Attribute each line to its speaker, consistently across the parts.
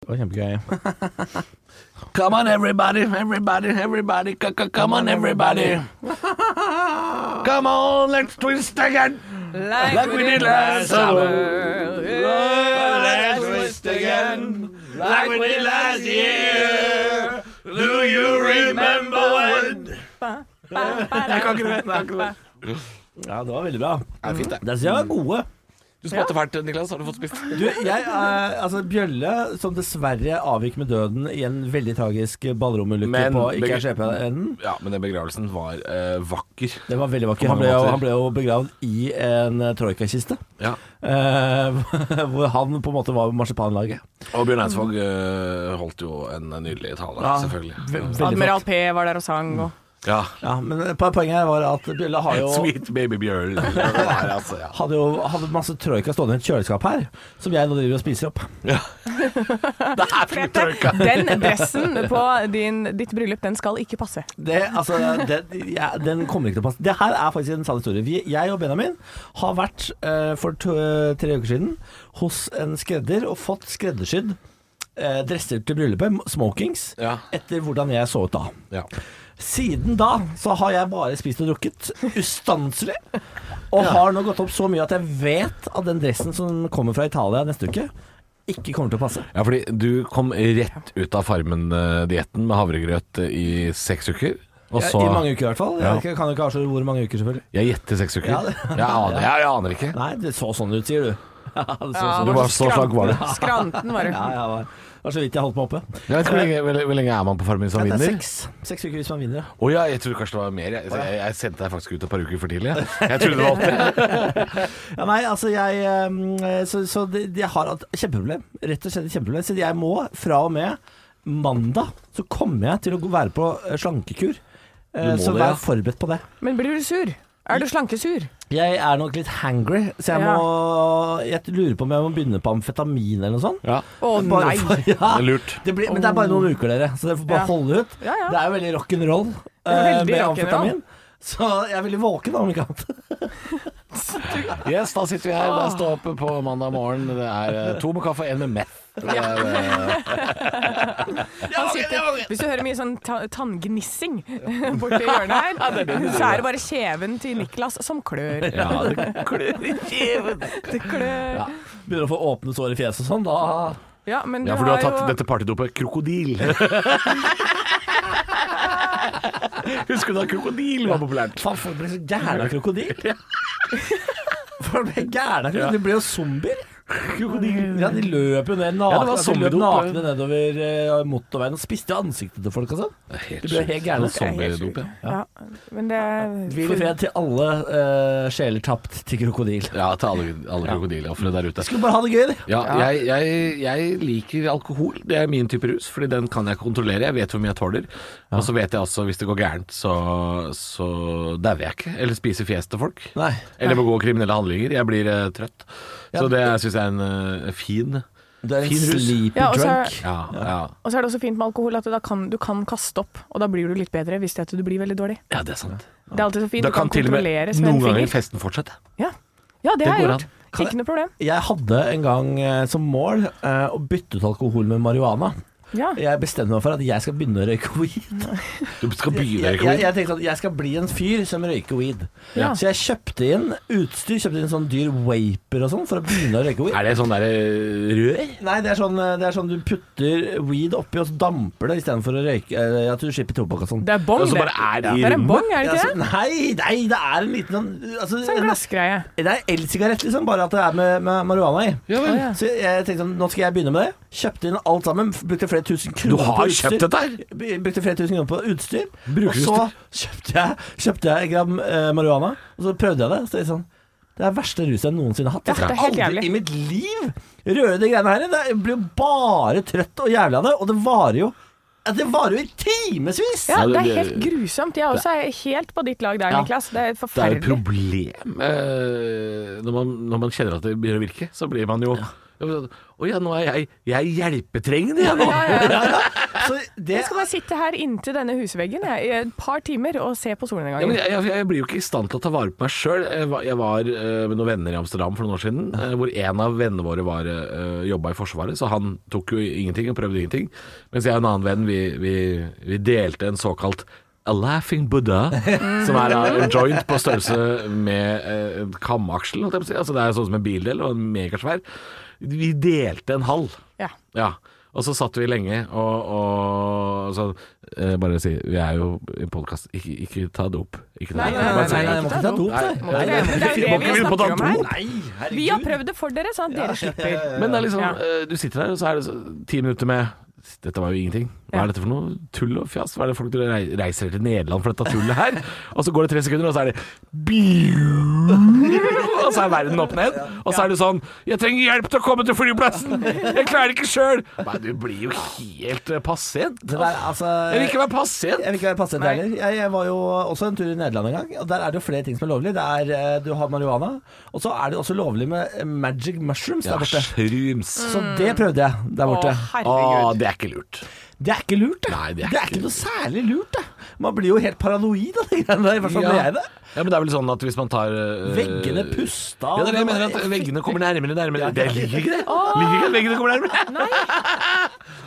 Speaker 1: Det var kjempegøy.
Speaker 2: Come on, everybody, everybody, everybody, c- c- come on, everybody. Come on, let's twist again.
Speaker 3: Like,
Speaker 2: we did last summer.
Speaker 3: Yeah,
Speaker 2: let's twist again. Like we did last year. Do you remember when? Jeg kan ikke det. jeg kan ikke det.
Speaker 1: Ja, det var veldig bra.
Speaker 2: Det er fint, det.
Speaker 1: Der synes jeg var gode.
Speaker 2: Du smatter fælt, Niklas. Har du fått spist?
Speaker 1: Du, jeg er, altså Bjølle, som dessverre avgikk med døden i en veldig tragisk ballromulykke
Speaker 2: Men-
Speaker 1: på ikke er skjebnen.
Speaker 2: Ja, men den begravelsen var eh, vakker.
Speaker 1: Det var veldig vakkert.
Speaker 2: På
Speaker 1: Han
Speaker 2: mange
Speaker 1: ble, jo,
Speaker 2: måter.
Speaker 1: han ble jo begravd i en eh, troikakiste.
Speaker 2: Ja.
Speaker 1: Eh, hvor han på en måte var marsipanlaget.
Speaker 2: Og Bjørn Eidsvåg eh, holdt jo en nydelig tale,
Speaker 1: Ja, ve-
Speaker 2: selvfølgelig.
Speaker 1: veldig
Speaker 3: Admiral P var der og sang. Og.
Speaker 2: Ja.
Speaker 1: Ja, men po- poenget her var at Bjølle har jo
Speaker 2: Sweet baby Bjørn. Det var det, altså, ja.
Speaker 1: hadde jo hadde masse troika stående i et kjøleskap her, som jeg nå driver og spiser opp.
Speaker 2: ja. Det er fint trøkka.
Speaker 3: Den dressen på din, ditt bryllup, den skal ikke passe.
Speaker 1: Det, altså, den, ja, den kommer ikke til å passe. Det her er faktisk en sann historie. Vi, jeg og Benjamin har vært eh, for to, tre uker siden hos en skredder og fått skreddersydd eh, dresser til bryllupet, m- smokings,
Speaker 2: Ja.
Speaker 1: etter hvordan jeg så ut da.
Speaker 2: Ja.
Speaker 1: Siden da så har jeg bare spist og drukket ustanselig, og har nå gått opp så mye at jeg vet at den dressen som kommer fra Italia neste uke, ikke kommer til å passe.
Speaker 2: ja, fordi du kom rett ut av Farmen-dietten med havregrøt i seks uker. Og
Speaker 1: Ja,
Speaker 2: så
Speaker 1: I mange uker i hvert fall.
Speaker 2: Ja.
Speaker 1: Jeg kan jo ikke avsløre hvor mange uker, selvfølgelig.
Speaker 2: Jeg gjetter seks uker.
Speaker 1: Ja, det-
Speaker 2: Jeg, aner, jeg, jeg aner ikke.
Speaker 1: Nei, det så sånn ut, sier du. Ja, det så
Speaker 3: Ja,
Speaker 1: sånn
Speaker 2: Du
Speaker 1: ut.
Speaker 2: var så slank var du.
Speaker 3: Skranten var du.
Speaker 1: Ja, ja, det var- det var så vidt jeg holdt meg oppe.
Speaker 2: Jeg vet ikke hvor lenge, hvor, hvor lenge er man på Farmen hvis man
Speaker 1: Det er
Speaker 2: vinner?
Speaker 1: seks, seks uker hvis man vinner. ja.
Speaker 2: Å ja, jeg trodde kanskje det var mer. Jeg, jeg, jeg sendte deg faktisk ut et par uker for tidlig. jeg. Jeg trodde det var åtte.
Speaker 1: Ja, nei, altså jeg ehm, Så, så det, jeg har et kjempeproblem. Rett og slett et kjempeproblem. Så jeg må fra og med mandag så kommer jeg til å gå- være på eh, slankekur. Eh,
Speaker 2: Du må
Speaker 1: Så
Speaker 2: det,
Speaker 1: vær
Speaker 2: ja.
Speaker 1: forberedt på det.
Speaker 3: Men blir du sur? Er du slankesur?
Speaker 1: Jeg er nok litt hangry, så jeg
Speaker 3: Ja.
Speaker 1: må Jeg lurer på om jeg må begynne på amfetamin eller noe sånt.
Speaker 2: Ja,
Speaker 3: Å
Speaker 1: Bare
Speaker 3: nei!
Speaker 1: for- ja.
Speaker 2: det er lurt.
Speaker 1: Det blir, men det er bare noen uker, dere, så dere får bare
Speaker 3: Ja.
Speaker 1: holde ut.
Speaker 3: Ja, ja.
Speaker 1: Det er jo veldig rock'n'roll uh,
Speaker 3: Veldig
Speaker 1: med
Speaker 3: rock'n'roll.
Speaker 1: amfetamin. Så jeg er veldig våken, da, om ikke annet.
Speaker 2: Yes, da sitter vi her. Det er stå opp på mandag morgen. Det er eh, to med kaffe og én med meth. Det er, eh,
Speaker 3: Han sitter, hvis du hører mye sånn ta tanngnissing borti hjørnet her, så er det bare kjeven til Niklas som klør.
Speaker 2: ja, det klør i kjeven.
Speaker 3: Det klør.
Speaker 1: Begynner å få åpne sår i fjeset og sånn, da
Speaker 3: Ja, men du,
Speaker 2: Ja, for du har tatt
Speaker 3: jo
Speaker 2: dette partydopet krokodil. Husker du da krokodil var populært?
Speaker 1: Faen, folk blir så gærne av krokodil. Folk blir gærne av krokodil. De blir jo zombier. Ja, de løper jo ned
Speaker 2: Ja, det
Speaker 1: nakne,
Speaker 2: var
Speaker 1: de løp
Speaker 2: zombiedop.
Speaker 1: nakne nedover eh, motorveien og spiste jo ansiktet til folk og sånn.
Speaker 2: Helt
Speaker 1: De ble helt gærne.
Speaker 2: Zombiedop, ja.
Speaker 3: ja, men det
Speaker 1: Hvil i fred til alle eh, sjeler tapt til krokodil.
Speaker 2: Ja, til alle, alle krokodilleofre der ute.
Speaker 1: Skulle bare ha det gøy, de.
Speaker 2: Ja, jeg, jeg, jeg liker alkohol. Det er min type rus, fordi den kan jeg kontrollere. Jeg vet hvor mye jeg tåler. Og så vet jeg også hvis det går gærent, så, så dauer jeg ikke. Eller spiser fjes til folk.
Speaker 1: Nei.
Speaker 2: Eller begår kriminelle handlinger. Jeg blir eh, trøtt. Så det syns jeg er en eh, fin
Speaker 1: Du er en
Speaker 2: Fin rus.
Speaker 1: sleepy
Speaker 3: Ja, og så-
Speaker 1: drunk.
Speaker 2: Ja, ja.
Speaker 3: Og så er det også fint med alkohol at du, da kan, du kan kaste opp, og da blir du litt bedre hvis det er at du blir veldig dårlig.
Speaker 2: ja det er sant.
Speaker 3: Det er alltid så fint.
Speaker 2: Da
Speaker 3: Du kan,
Speaker 2: kan til og med
Speaker 3: kontrolleres med
Speaker 2: noen
Speaker 3: en
Speaker 2: ganger
Speaker 3: finger.
Speaker 2: festen fortsette.
Speaker 3: Ja. ja, det
Speaker 2: Det
Speaker 3: har jeg
Speaker 2: går
Speaker 3: gjort.
Speaker 1: Kan jeg-
Speaker 3: Ikke noe problem.
Speaker 1: Jeg hadde en gang eh, som mål eh, å bytte ut alkohol med marihuana.
Speaker 3: Ja.
Speaker 1: Jeg bestemte meg for at jeg skal begynne å røyke weed.
Speaker 2: Du skal begynne
Speaker 1: Jeg,
Speaker 2: ikke
Speaker 1: jeg,
Speaker 2: sant?
Speaker 1: jeg tenkte at jeg skal bli en fyr som røyker weed.
Speaker 3: Ja.
Speaker 1: Så jeg kjøpte inn utstyr, kjøpte inn sånn dyr vaper og sånn for å begynne å røyke weed.
Speaker 2: Er det sånn derre rør?
Speaker 1: Nei, det er, sånn, eh, det er sånn du putter weed oppi, og så damper det istedenfor å røyke eh, at du slipper tobakk og sånn.
Speaker 3: Det er bong,
Speaker 2: Og så
Speaker 3: det.
Speaker 2: bare er det i
Speaker 3: Det er en
Speaker 2: rommet?
Speaker 3: bong, er det
Speaker 1: Ja,
Speaker 3: ikke
Speaker 1: så-
Speaker 3: det?
Speaker 1: nei, nei, det er en liten sånn altså,
Speaker 3: Sånn
Speaker 1: en-
Speaker 3: glassgreie.
Speaker 1: Det er elsigarett, liksom, bare at det er med, med marihuana i.
Speaker 2: Ja vel.
Speaker 3: Å, ja.
Speaker 1: Så jeg tenkte sånn, nå skal jeg begynne med det. Kjøpte inn alt sammen, brukte flere tusen
Speaker 2: Du
Speaker 1: kroner på
Speaker 2: har
Speaker 1: utstyr.
Speaker 2: kjøpt dette her?
Speaker 1: B- Brukte flere tusen kroner på utstyr. Og
Speaker 2: Bruker
Speaker 1: så kjøpte jeg, kjøpte jeg et gram eh, marihuana, og så prøvde jeg det. Så det er sånn det er verste ruset jeg noensinne har hatt.
Speaker 3: Ja,
Speaker 1: Jeg skal
Speaker 3: det er
Speaker 1: aldri
Speaker 3: helt jævlig.
Speaker 1: i mitt liv røre de greiene her. Det- Jeg blir jo bare trøtt og jævlig av det, og det varer jo ja, Det varer jo i timevis!
Speaker 3: Ja,
Speaker 2: Ja, det-
Speaker 3: det er
Speaker 2: det-
Speaker 3: helt grusomt. Jeg også er helt på ditt lag der,
Speaker 1: Ja.
Speaker 3: Niklas. Det er
Speaker 2: Det er jo
Speaker 3: forferdelig.
Speaker 2: et problem eh, når, man, når man kjenner at det begynner å virke. Så blir man jo Å ja, nå er jeg Jeg er hjelpetrengende, jeg nå.
Speaker 3: Ja, ja.
Speaker 1: Ja, ja. Så det
Speaker 3: Jeg skal bare sitte her inntil denne husveggen jeg, i et par timer og se på
Speaker 2: Ja, men
Speaker 3: solnedgangen.
Speaker 2: jeg, jeg, jeg blir jo ikke i stand til å ta vare på meg sjøl. Jeg, var- jeg var eh, med noen venner i Amsterdam for noen år siden, eh, hvor en av vennene våre var, eh, jobba i Forsvaret, så han tok jo ingenting og prøvde ingenting. Mens jeg og en annen venn, vi, vi, vi delte en såkalt A laughing Buddha, som er da en joint på størrelse med eh, en kamaksel. holdt jeg på å Si. Altså, det er sånn som en bildel og en megasvær. Vi delte en halv.
Speaker 3: Ja.
Speaker 2: Ja, og så satt vi lenge og, og så, eh, Bare si, vi er jo i podkast ikke, ikke ta dop. Ikke ta
Speaker 3: Nei,
Speaker 2: dop.
Speaker 3: nei,
Speaker 2: Bare si-
Speaker 1: Nei, nei, nei, må ikke ta dop, nei.
Speaker 2: Nei, nei,
Speaker 3: Det er jo det
Speaker 2: vi må ikke
Speaker 3: vi
Speaker 2: begynne på
Speaker 3: snakker
Speaker 2: å
Speaker 3: om
Speaker 2: ta dop.
Speaker 3: her.
Speaker 1: Nei, herregud.
Speaker 3: Vi har prøvd det for dere, sånn at dere slipper.
Speaker 2: Men det er liksom,
Speaker 3: Ja.
Speaker 2: eh, du sitter der, og så er det så, ti minutter med dette var jo ingenting. Hva
Speaker 3: Ja.
Speaker 2: er dette for noe tull og fjas? Hva er det folk dere rei- reiser til Nederland for dette tullet her? Og så går det tre sekunder, og så er det biu, Og så er verden opp ned. Og så er du sånn Jeg trenger hjelp til å komme til flyplassen! Jeg klarer det ikke sjøl! Nei, Du blir jo helt eh, pasient.
Speaker 1: Det der, altså
Speaker 2: Jeg vil ikke være
Speaker 1: Jeg
Speaker 2: pasient.
Speaker 1: vil ikke være pasient heller. Jeg, jeg var jo også en tur i Nederland en gang, og der er det jo flere ting som er lovlig. Det er, eh, du har marihuana, og så er det også lovlig med eh, magic mushrooms der borte.
Speaker 2: shrooms.
Speaker 1: Så det prøvde jeg der borte.
Speaker 3: Å,
Speaker 2: Å,
Speaker 3: herregud.
Speaker 2: det er ikke lurt.
Speaker 1: Det er ikke lurt, det.
Speaker 2: Nei, det er
Speaker 1: det er
Speaker 2: ikke
Speaker 1: ikke noe særlig lurt, det. Man blir jo helt paranoid av de greiene der, i hvert fall ble jeg det.
Speaker 2: Ja, men det er vel sånn at hvis man tar øh,
Speaker 1: Veggene pusta
Speaker 2: Ja, det er det jeg mener, at veggene kommer nærmere nærmere. Det liker ikke det. Liker ikke at veggene kommer nærmere.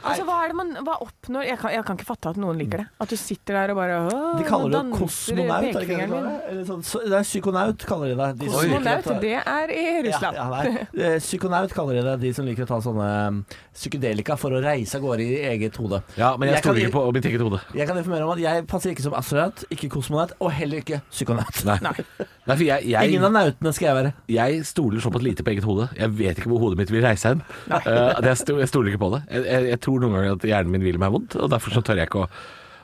Speaker 3: Altså, hva er det man hva oppnår jeg kan, jeg kan ikke fatte at noen liker det. At du sitter der og bare «Åh,
Speaker 1: De kaller det jo
Speaker 3: danser
Speaker 1: kosmonaut, er det ikke det de
Speaker 3: pekefingeren
Speaker 1: kaller
Speaker 3: min».
Speaker 1: det? Eller sånn, så- det er psykonaut, kaller de det. De som liker
Speaker 3: Kosmonaut,
Speaker 1: å ta-
Speaker 3: det er i Russland.
Speaker 1: Ja, ja, nei. Eh, Psykonaut kaller de det, de som liker å ta sånne eh, psykedelika for å reise av gårde i eget hode.
Speaker 2: Ja, men jeg,
Speaker 1: kan-
Speaker 2: stoler ikke på mitt eget hode.
Speaker 1: Jeg kan informere om at jeg passer ikke som astronaut, ikke kosmonaut og heller ikke psykonaut.
Speaker 2: Nei. Nei, for jeg,
Speaker 1: Ingen av
Speaker 2: jeg,
Speaker 1: nautene skal jeg være.
Speaker 2: jeg stoler såpass lite på eget hode. Jeg vet ikke hvor hodet mitt vil reise hen. Eh, det- jeg, sto, jeg stoler ikke på det. Jeg, jeg, jeg tror noen ganger at hjernen min vil meg vondt, og derfor så tør jeg ikke å,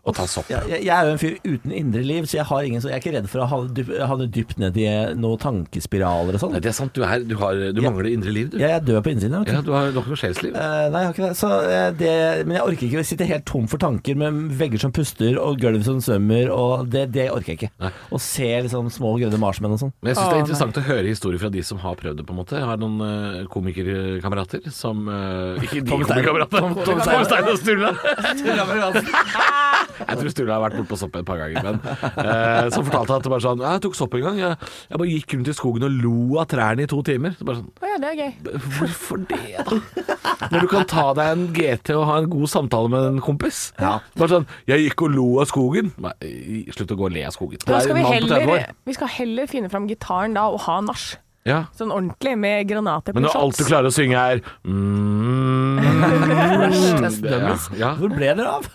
Speaker 2: å ta sopp.
Speaker 1: Jeg, jeg- jeg er jo en fyr uten indre liv, så jeg, har ingen, så jeg er ikke redd for å havne dyp- havne dypt ned i eh, noen tankespiraler og
Speaker 2: Nei,
Speaker 1: sånn.
Speaker 2: det er sant. Du, er, du, har, du
Speaker 1: Ja.
Speaker 2: mangler indre liv, du.
Speaker 1: Jeg er død på innsiden. Jeg, vet du.
Speaker 2: Ja, du har du har ikke noe sjelsliv.
Speaker 1: Eh, nei, jeg har ikke det. Så, eh, det. Men jeg orker ikke å sitte helt tom for tanker med vegger som puster og gulv som svømmer. Og det, det orker jeg ikke.
Speaker 2: Nei.
Speaker 1: Og se liksom små grønne marsmenn og sånn.
Speaker 2: Men jeg syns det
Speaker 3: Å,
Speaker 2: er interessant å høre historier fra de som har prøvd det, på en måte. Jeg har noen eh, komikerkamerater som eh, Ikke de
Speaker 1: Tom Stein-
Speaker 2: komikerkameratene,
Speaker 1: Tom- Tom
Speaker 2: Tom
Speaker 1: Stein.
Speaker 2: Stein og Sturla. Jeg tror Sturla har vært bortpå sopp et par ganger, men eh, så fortalte han at det bare sånn Jeg tok sopp en gang. Jeg, jeg bare gikk rundt i skogen og lo av trærne i to timer. Så bare sånn
Speaker 3: Å ja, det er gøy.
Speaker 2: Hvorfor det, da? Når du kan ta deg en GT og ha en god samtale med en kompis. Bare sånn 'Jeg gikk og lo av skogen'. Nei, slutt å gå og le av skogen. Du
Speaker 3: Da
Speaker 2: er en
Speaker 3: skal vi,
Speaker 2: mann på 30
Speaker 3: heller,
Speaker 2: år.
Speaker 3: vi skal heller finne fram gitaren da og ha nach.
Speaker 2: Ja.
Speaker 3: Sånn ordentlig, med granater
Speaker 2: Men
Speaker 3: på
Speaker 2: når alt du
Speaker 3: shots.
Speaker 2: klarer å synge er mm,
Speaker 1: Test dummies.
Speaker 2: ja,
Speaker 1: Hvor ble dere av?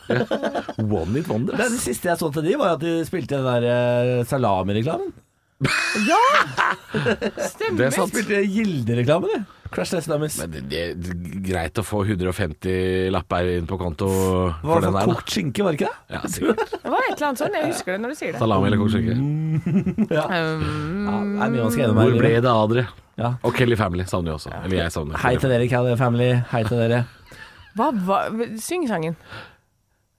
Speaker 2: One It Wonder.
Speaker 1: Det, det siste jeg så til de, var at de spilte den der eh, salami-reklamen.
Speaker 2: Det er
Speaker 1: De
Speaker 2: sant.
Speaker 1: spilte Gilde-reklamen, de. Crash Test Dummies.
Speaker 2: Men det, det er greit å få 150 lapper inn på konto
Speaker 1: Det var i hvert
Speaker 2: for den der.
Speaker 1: fall
Speaker 2: da.
Speaker 1: kokt skinke, var det ikke det?
Speaker 2: Ja, sikkert.
Speaker 3: Det var et eller annet sånt, jeg husker det når du sier det.
Speaker 2: Salami eller kokoskinke. Sånn.
Speaker 3: Um,
Speaker 1: Ja, det er mye man skal gjennom her.
Speaker 2: Hvor ble det av dere?
Speaker 1: Ja.
Speaker 2: Og Kelly Family savner jo også. Eller jeg savner.
Speaker 1: Hei til dere, Cali Family. Hei til dere.
Speaker 3: hva var Syng sangen. Hvordan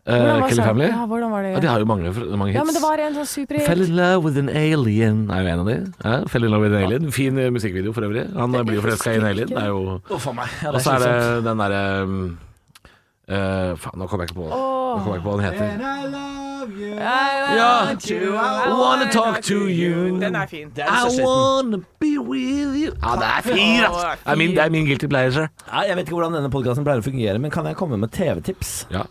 Speaker 2: Eh,
Speaker 3: var
Speaker 2: Kelly
Speaker 3: sangen?
Speaker 2: Family?
Speaker 3: Ja, hvordan var
Speaker 2: Ja, de
Speaker 3: det?
Speaker 2: har jo mange, mange hits.
Speaker 3: Ja, men det var en sånn superhit.
Speaker 2: Fell in love with an alien er jo en av de. Ja, Fell in love with an alien. Fin eh, musikkvideo for øvrig. Han eh, blir jo forelska i en alien. Det er jo
Speaker 1: Uff a meg. Ja,
Speaker 2: Og så er
Speaker 1: slitsomt.
Speaker 2: det den derre um, eh, Faen, nå kom jeg ikke på Nå kom jeg ikke på hva den heter.
Speaker 1: And I love you.
Speaker 3: I
Speaker 2: Ja.
Speaker 3: want you, I
Speaker 2: Wanna
Speaker 3: wanna
Speaker 2: talk to you.
Speaker 3: Den er fin.
Speaker 1: Det er
Speaker 2: I
Speaker 1: så sliten.
Speaker 2: wanna be with you Ja, det er fin, ass!
Speaker 3: Å, det er
Speaker 2: Det er min, det er min guilty pleasure.
Speaker 1: Nei, Jeg vet ikke hvordan denne podkasten pleier å fungere, men kan jeg komme med TV-tips?
Speaker 2: Ja.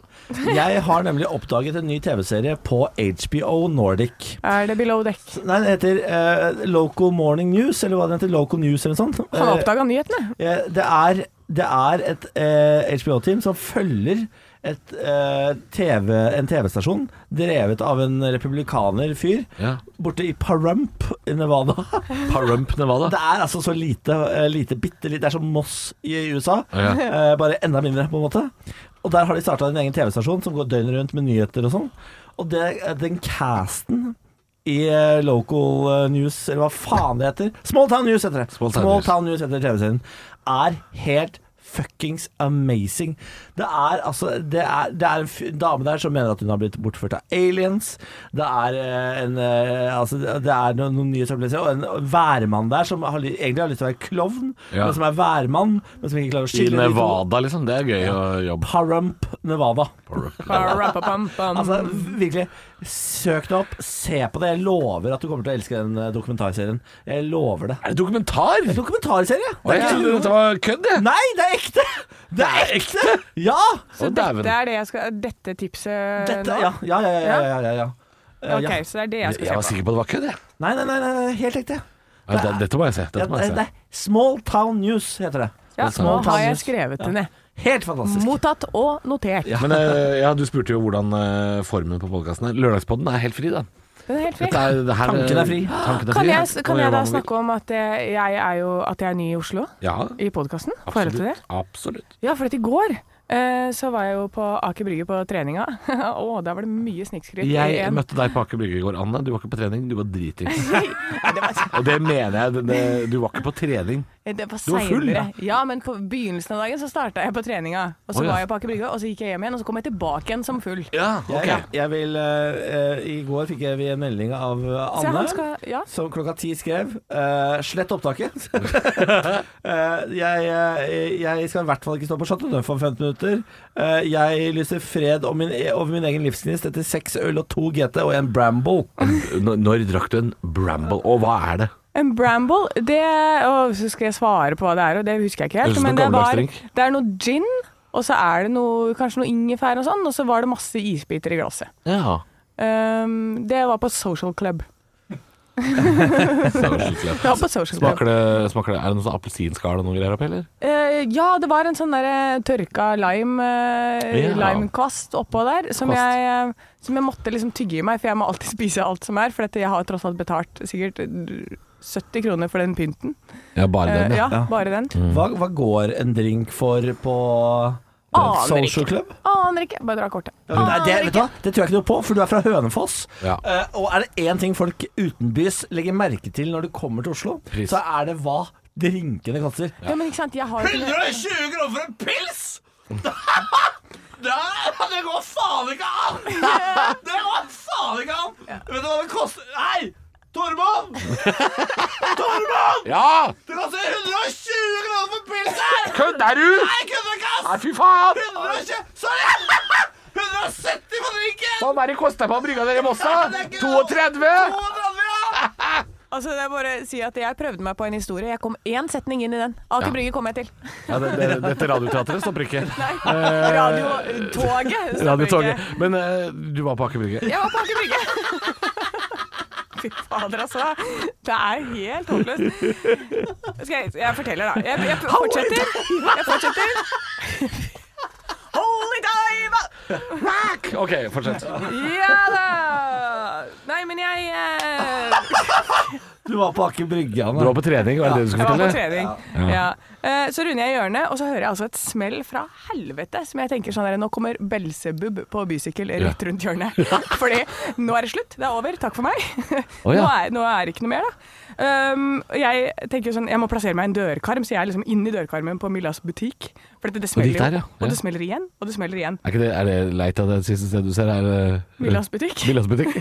Speaker 1: Jeg har nemlig oppdaget en ny TV-serie på HBO Nordic.
Speaker 3: Er det Below Deck?
Speaker 1: Nei, den heter eh, Local Morning News, eller hva den heter. Local News eller noe sånt.
Speaker 3: Han har oppdaga nyhetene.
Speaker 1: Eh, eh, det, er, det er et eh, HBO-team som følger et, eh, TV, en TV-stasjon drevet av en republikaner fyr
Speaker 2: ja.
Speaker 1: borte i Pahrump i Nevada.
Speaker 2: Parump Nevada.
Speaker 1: Det er altså så lite, eh, lite bitte litt Det er som Moss i USA.
Speaker 2: Ja.
Speaker 1: Eh, bare enda mindre, på en måte. Og der har de starta en egen TV-stasjon som går døgnet rundt med nyheter og sånn. Og det, eh, den casten i eh, Local eh, News, eller hva faen det heter Small Town News heter det.
Speaker 2: Small Town News.
Speaker 1: Town News heter TV-serien. Er helt fuckings amazing. Det er altså Det er, det er en f dame der som mener at hun har blitt bortført av aliens. Det er eh, en eh, Altså, det er noen, noen nye opplevelser. Og en værmann der som har, li- egentlig har lyst til å være klovn,
Speaker 2: Ja.
Speaker 1: men som er værmann, men som ikke klarer å
Speaker 2: I
Speaker 1: skille de to.
Speaker 2: Nevada, liksom. Det er gøy å jobbe
Speaker 1: Pahrump, Nevada.
Speaker 2: på.
Speaker 3: Barapapam-pam.
Speaker 1: Altså, virkelig. Søk det opp, se på det. Jeg lover at du kommer til å elske den eh, dokumentarserien. Jeg lover det.
Speaker 2: Er det dokumentar?
Speaker 1: Dokumentarserie!
Speaker 2: Å,
Speaker 1: Det
Speaker 2: Jeg
Speaker 1: er
Speaker 2: trodde
Speaker 1: ikke
Speaker 2: dette var kødd, jeg.
Speaker 1: Nei, det er ekte! Det er ekte! Ja!
Speaker 3: Så
Speaker 2: Å, dæven.
Speaker 3: dette er det jeg skal Dette tipset
Speaker 1: Dette,
Speaker 3: Eh, nå?
Speaker 1: ja, ja, ja, ja, ja, ja, ja. Eh, ja.
Speaker 3: Ok, så det er det jeg
Speaker 2: Jeg
Speaker 3: skal
Speaker 2: var
Speaker 3: se på.
Speaker 2: sikker på at det var kødd, jeg.
Speaker 1: Nei, nei, nei, nei, nei, helt ekte.
Speaker 2: Ja, det- Dette må jeg se.
Speaker 1: Ja,
Speaker 2: Dette må
Speaker 1: det,
Speaker 2: jeg
Speaker 1: det
Speaker 2: se.
Speaker 1: er Small Town News heter det.
Speaker 3: Ja,
Speaker 2: Small
Speaker 3: nå har
Speaker 1: town
Speaker 3: jeg
Speaker 1: news.
Speaker 3: skrevet det ned.
Speaker 1: Helt fantastisk.
Speaker 3: Mottatt og notert.
Speaker 2: Men eh, ja, du spurte jo hvordan eh, formen på podkasten er. Lørdagspodden er helt fri, da.
Speaker 3: Den er helt fri.
Speaker 2: Dette er, det her,
Speaker 1: Tanken er fri.
Speaker 2: Tanken er
Speaker 3: Kan
Speaker 2: fri, ja.
Speaker 3: jeg, kan
Speaker 2: gjøre
Speaker 3: jeg da
Speaker 2: hva man vil.
Speaker 3: snakke om at eh, jeg er jo at jeg er ny i Oslo?
Speaker 2: Ja,
Speaker 3: I podkasten? Får jeg lov til det?
Speaker 2: absolutt. absolutt.
Speaker 3: Ja, for at i går eh, så var jeg jo på Aker Brygge på treninga. Å, der var det mye snikskryt. i
Speaker 2: Jeg
Speaker 3: en.
Speaker 2: møtte deg på Aker Brygge i går, Anne. Du var ikke på trening, du var dritings. Og det mener jeg. Det, det, du var ikke på trening.
Speaker 3: eh, Det var
Speaker 2: Du var full,
Speaker 3: seinere. Ja, men på begynnelsen av dagen så starta jeg på treninga. Og så
Speaker 2: Å, ja.
Speaker 3: var jeg på Aker Brygge, og så gikk jeg hjem igjen, og så kom jeg tilbake igjen som full.
Speaker 2: Ja,
Speaker 1: Jeg, jeg vil, eh, eh, I går fikk jeg en melding av eh,
Speaker 3: Så
Speaker 1: Anne.
Speaker 3: han skal Ja.
Speaker 1: Som klokka ti skrev eh, Slett opptaket Eh, jeg, eh, jeg skal i hvert fall ikke stå på Chateau Neuf om 15 minutter Eh, Jeg lyser fred om min, over min egen livsgnist Etter seks øl og to GT og en Bramble
Speaker 2: Når, når drakk du en Bramble? Og hva er det?
Speaker 3: En bramble, det Og så skal jeg svare på hva det er, og det husker jeg ikke
Speaker 2: Høres ut
Speaker 3: helt.
Speaker 2: som
Speaker 3: Men
Speaker 2: en
Speaker 3: det, var,
Speaker 2: gammeldagsdrink.
Speaker 3: det er noe gin, og så er det noe, kanskje noe ingefær og sånn, og så var det masse isbiter i glasset.
Speaker 2: Ja.
Speaker 3: Ehm, det var på social club. Det var på social club.
Speaker 2: Smaker det, smaker det Er det noe sånn appelsinskall og noe greier oppi, eller?
Speaker 3: Eh, ja, det var en sånn der eh, tørka lime, eh,
Speaker 2: Ja.
Speaker 3: limekvast oppå der, som
Speaker 2: Kvast.
Speaker 3: jeg, eh, som jeg måtte liksom tygge i meg, for jeg må alltid spise alt som er, for at jeg har tross alt betalt sikkert eh, 70 kroner for den pynten.
Speaker 2: Ja, bare
Speaker 3: Eh,
Speaker 2: den, ja. Mm.
Speaker 3: ja, bare den.
Speaker 1: hva, hva går en drink for på eh,
Speaker 3: Aner
Speaker 1: Social
Speaker 3: ikke.
Speaker 1: Club?
Speaker 3: Aner ikke. Bare dra kortet.
Speaker 1: Ja, men det, er- det,
Speaker 3: Aner
Speaker 1: vet du hva? det tror jeg ikke noe på, for du er fra Hønefoss
Speaker 2: Ja.
Speaker 1: Eh, Og er det en ting folk utenbys legger merke til når de kommer til Oslo
Speaker 2: Pris.
Speaker 1: Så er det hva drinkene koster
Speaker 3: Ja. men ikke sant, jeg har jo ikke
Speaker 1: 120 kroner for en pils?! Det, er- det går faen ikke an! Det går faen ikke an! Vet du hva det koster Hei! Tormod! Tormod!
Speaker 2: ja!
Speaker 1: Det koster 120 kroner for pils her!
Speaker 2: Kødder du?!
Speaker 1: Jeg kødder ikke,
Speaker 2: Nei,
Speaker 1: ass!
Speaker 2: fy faen!
Speaker 1: 120 Sorry! 170 for drinken!
Speaker 2: Hva er det kosta på brygga dere i Mossa?
Speaker 1: Det er ikke lov.
Speaker 2: 32?
Speaker 1: 230, ja!
Speaker 3: Altså, det er bare å si at jeg prøvde meg på en historie. Jeg kom én setning inn i den. Aker Brygge kom jeg til.
Speaker 2: Ja, det, det, dette radioteatret stopper ikke.
Speaker 3: Radiotoget. stopper
Speaker 2: Radiotoget.
Speaker 3: ikke.
Speaker 2: Men eh, du var på Aker Brygge.
Speaker 3: Jeg var på Aker Brygge. Fy fader, altså. Det er helt håpløst. Skal jeg, jeg forteller, da. Jeg, jeg fortsetter. Jeg fortsetter. Holy dive!
Speaker 2: OK, fortsett.
Speaker 3: Ja da! Nei, men jeg eh,
Speaker 1: Du var på Aker Brygge,
Speaker 2: Du var på trening, var det det du skulle
Speaker 3: Jeg var på
Speaker 2: fortelle?
Speaker 3: trening. Ja. Eh, Så runder jeg hjørnet, og så hører jeg altså et smell fra helvete som jeg tenker sånn der, nå kommer Belsebub på bysykkel rett rundt hjørnet. Fordi nå er det slutt, det er over, takk for meg.
Speaker 2: Å,
Speaker 3: Nå,
Speaker 2: ja.
Speaker 3: er, nå er det ikke noe mer, da. Um, og jeg tenker jo sånn, jeg må plassere meg i en dørkarm, så jeg er liksom inni dørkarmen på Millas butikk. For dette, det
Speaker 2: Og det
Speaker 3: smeller
Speaker 2: gikk
Speaker 3: jo.
Speaker 2: der, ja. Ja.
Speaker 3: Og det smeller igjen, og det smeller igjen.
Speaker 2: Er, ikke det, er det leit av det siste stedet du ser? Er det
Speaker 3: Millas butikk.
Speaker 2: Millas butikk?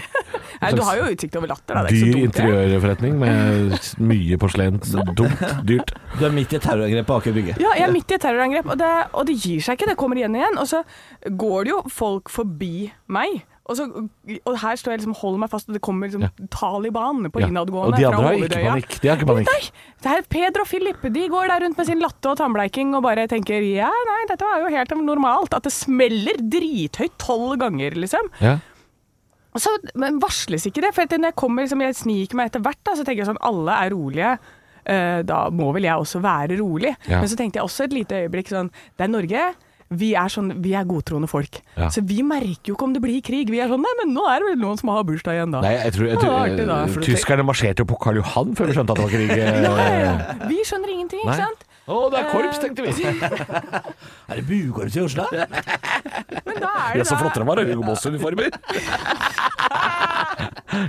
Speaker 3: Nei, du har jo utsikt over latter, da. Det er
Speaker 2: Dyr
Speaker 3: ikke så dumt. det.
Speaker 2: interiørforretning med mye porselen. Dumt, dyrt.
Speaker 1: Du er midt i terrorangrepet på Aker Brygge.
Speaker 3: Ja, jeg er midt i et terrorangrep, og det, og det gir seg ikke. Det kommer igjen og igjen. Og så går det jo folk forbi meg. Og, så, og her står jeg liksom holder meg fast, og det kommer liksom
Speaker 2: Ja.
Speaker 3: Taliban på
Speaker 2: Ja. Og
Speaker 3: innadgående
Speaker 2: de
Speaker 3: fra
Speaker 2: andre har ikke
Speaker 3: Hovedøya.
Speaker 2: panikk. De har ikke panikk.
Speaker 3: Nei, det er Peder og Philip de går der rundt med sin latte og tannbleiking og bare tenker ja, nei, dette er jo helt normalt. At det smeller drithøyt tolv ganger, liksom.
Speaker 2: Ja.
Speaker 3: Og Så, men varsles ikke det? For at når jeg kommer, liksom, jeg sniker meg etter hvert, da, så tenker jeg sånn alle er rolige. eh, da må vel jeg også være rolig.
Speaker 2: Ja.
Speaker 3: Men så tenkte jeg også et lite øyeblikk sånn Det er Norge. Vi er, sånn, vi er godtroende folk.
Speaker 2: Ja.
Speaker 3: Så vi merker jo ikke om det blir krig. Vi er sånn Nei, men nå er det vel noen som har bursdag igjen, da.
Speaker 2: Nei, jeg tror, jeg
Speaker 3: Det
Speaker 2: tror
Speaker 3: var artig, da.
Speaker 2: eh, Tyskerne marsjerte jo på Karl Johan før de skjønte at det var krig. eh,
Speaker 3: Ja, Vi skjønner ingenting,
Speaker 2: Nei.
Speaker 3: ikke sant?
Speaker 2: Å, det er korps, tenkte vi.
Speaker 1: Er det bukorps i Oslo?
Speaker 3: Men da er
Speaker 2: Ja,
Speaker 3: det
Speaker 2: så
Speaker 3: da-
Speaker 2: flotte de var, Hugo Boss-uniformer.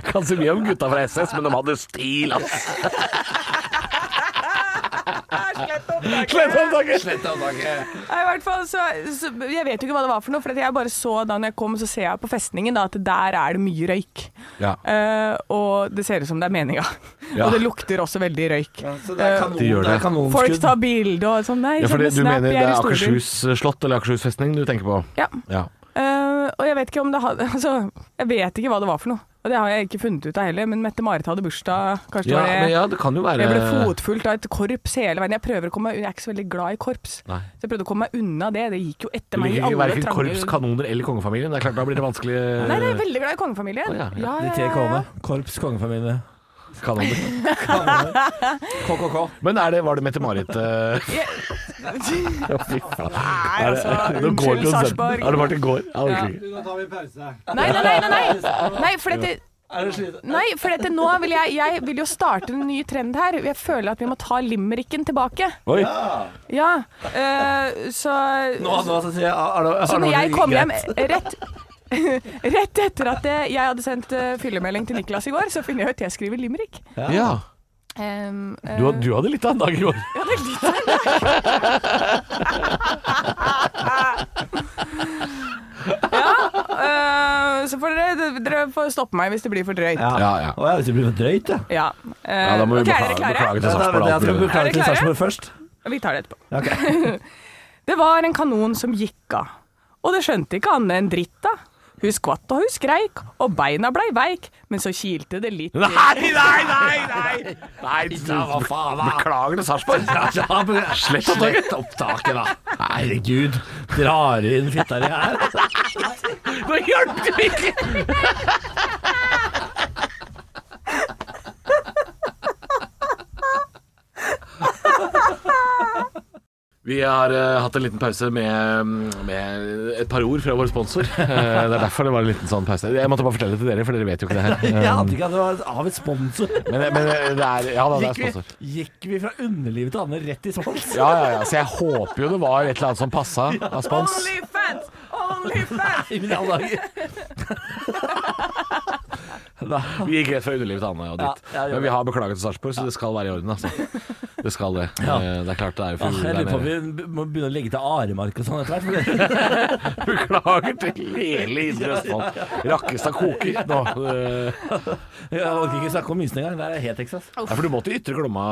Speaker 2: Kan si mye om gutta fra SS, men de hadde stil, ass.
Speaker 3: Det er Slett opptaket!
Speaker 2: Slett opptaket!
Speaker 3: Nei, i hvert fall, så, så, jeg vet jo ikke hva det var for noe, for at jeg bare så da når jeg kom, så ser jeg på festningen da, at der er det mye røyk.
Speaker 2: Ja.
Speaker 3: Eh, og det ser ut som det er meninga.
Speaker 2: Ja.
Speaker 3: Og det lukter også veldig røyk.
Speaker 1: Så det er kanon,
Speaker 2: De gjør
Speaker 1: det er
Speaker 2: det.
Speaker 1: kanonskudd.
Speaker 3: Folk tar bilde og sånn. Nei,
Speaker 2: Ja, for
Speaker 3: send
Speaker 2: det,
Speaker 3: en
Speaker 2: du
Speaker 3: snap,
Speaker 2: mener det
Speaker 3: jeg i
Speaker 2: er
Speaker 3: storbyen.
Speaker 2: Akershus eh, slott eller Akershus festning du tenker på?
Speaker 3: Ja.
Speaker 2: Ja.
Speaker 3: Eh, og jeg vet ikke om det hadde Altså, jeg vet ikke hva det var for noe. Og det har jeg ikke funnet ut av heller, men Mette-Marit hadde bursdag. Kanskje
Speaker 2: Ja,
Speaker 3: det var
Speaker 2: men eh,
Speaker 3: det.
Speaker 2: ja, det kan jo være
Speaker 3: Jeg ble fotfulgt av et korps hele veien. Jeg prøver å komme meg Jeg er ikke så veldig glad i korps,
Speaker 2: Nei.
Speaker 3: så jeg prøvde å komme meg unna det. Det gikk jo
Speaker 2: Du
Speaker 3: etter meg i
Speaker 2: liker ikke
Speaker 3: alle
Speaker 2: verken
Speaker 3: trange
Speaker 2: korps, kanoner eller kongefamilien. Det er klart, Da blir det vanskelig
Speaker 3: Nei, jeg er veldig glad i kongefamilien.
Speaker 2: Eh, Å, ja, ja.
Speaker 1: De tre K-ene. Korps, kongefamilie.
Speaker 2: eh, kanoner.
Speaker 1: KKK.
Speaker 2: Men er det, var det Mette-Marit eh,
Speaker 3: ja.
Speaker 2: Fy faen.
Speaker 3: Nei,
Speaker 2: Er det-
Speaker 3: altså,
Speaker 2: nå går
Speaker 3: unnskyld,
Speaker 2: produsenten.
Speaker 3: Sarpsborg.
Speaker 2: Har det vært i går? Ja, det
Speaker 3: Ja.
Speaker 2: orker ikke.
Speaker 1: Nå tar vi pause.
Speaker 3: Nei, nei, nei, nei, nei. nei for dette,
Speaker 1: Er det sliten?
Speaker 3: nei, for dette nå vil jeg, jeg vil jo starte en ny trend her. Jeg føler at vi må ta limericken tilbake.
Speaker 2: Oi.
Speaker 3: Ja, eh, så
Speaker 1: Nå, nå så sier jeg har det- har
Speaker 3: Så
Speaker 1: det
Speaker 3: når
Speaker 1: vært
Speaker 3: jeg kom hjem
Speaker 1: greit?
Speaker 3: rett Rett etter at eh, jeg hadde sendt eh, fyllemelding til Niklas i går, så finner jeg ut at jeg skriver limerick.
Speaker 2: Ja.
Speaker 3: Um, eh,
Speaker 2: Du, had- du hadde litt av en dag i går.
Speaker 3: ja, det er litt av en dag. ja, eh, så får dere, dere får stoppe meg hvis det blir for drøyt.
Speaker 1: Ja.
Speaker 2: Ja, ja.
Speaker 1: Å, jeg vet det blir for drøyt, jeg.
Speaker 3: Ja, eh,
Speaker 2: Eh, Ja, da må vi
Speaker 3: ok, er
Speaker 2: beklage,
Speaker 3: dere klare?
Speaker 1: Ja, da
Speaker 2: beklage til
Speaker 1: vet
Speaker 2: Sarpsborg.
Speaker 1: jeg, jeg skal
Speaker 2: alt vi gjør.
Speaker 3: Er
Speaker 1: beklage
Speaker 3: dere
Speaker 1: til
Speaker 3: klare?
Speaker 1: Sarpsborg først.
Speaker 3: Vi tar det etterpå.
Speaker 1: Ok.
Speaker 3: Det var en kanon som gikk av, og det skjønte ikke Anne en dritt av. Hun skvatt og hun skreik, og beina blei veik, men så kilte det litt i
Speaker 2: Nei, nei, nei! Nei, nei da, hva faen da? Beklager til Sarpsborg. Slett opptaket. opptaket, da.
Speaker 1: Herregud, drar du inn fitta di her?
Speaker 2: Nå hjelper det ikke! Vi har eh, hatt en liten pause med, med et par ord fra vår sponsor. Eh, det er derfor det var en liten sånn pause. Jeg måtte bare fortelle det til dere, for dere vet jo ikke det her.
Speaker 1: Jeg ante ikke at det var av et sponsor.
Speaker 2: Men, men det er, Um, ja, da, det er
Speaker 1: Gikk vi,
Speaker 2: sponsor.
Speaker 1: gikk vi fra underlivet til Anne rett i spons?
Speaker 2: Ja, ja, ja. Så jeg håper jo det var et eller annet som passa av spons.
Speaker 3: Onlyfans! Onlyfans!
Speaker 1: I mine alle dager. Da-
Speaker 2: Vi gikk rett fra underlivet til Anne og dit.
Speaker 1: Ja, ja, gjør
Speaker 2: Men
Speaker 1: det.
Speaker 2: vi har beklaget til Sarpsborg, så det skal være i orden, altså. Det skal det.
Speaker 1: Ja.
Speaker 2: Eh, Det er klart det er
Speaker 1: Ah,
Speaker 2: jo for
Speaker 1: Jeg lurer på om
Speaker 2: nede.
Speaker 1: vi må begynne å legge til aremark og sånn etter hvert. for det-
Speaker 2: Beklager til hele Indre Østfold. Rakkestad koker nå. Eh,
Speaker 1: Jeg orker ikke snakke om mysen engang. Det er helt Texas.
Speaker 2: Ja, for du må til Ytre Glomma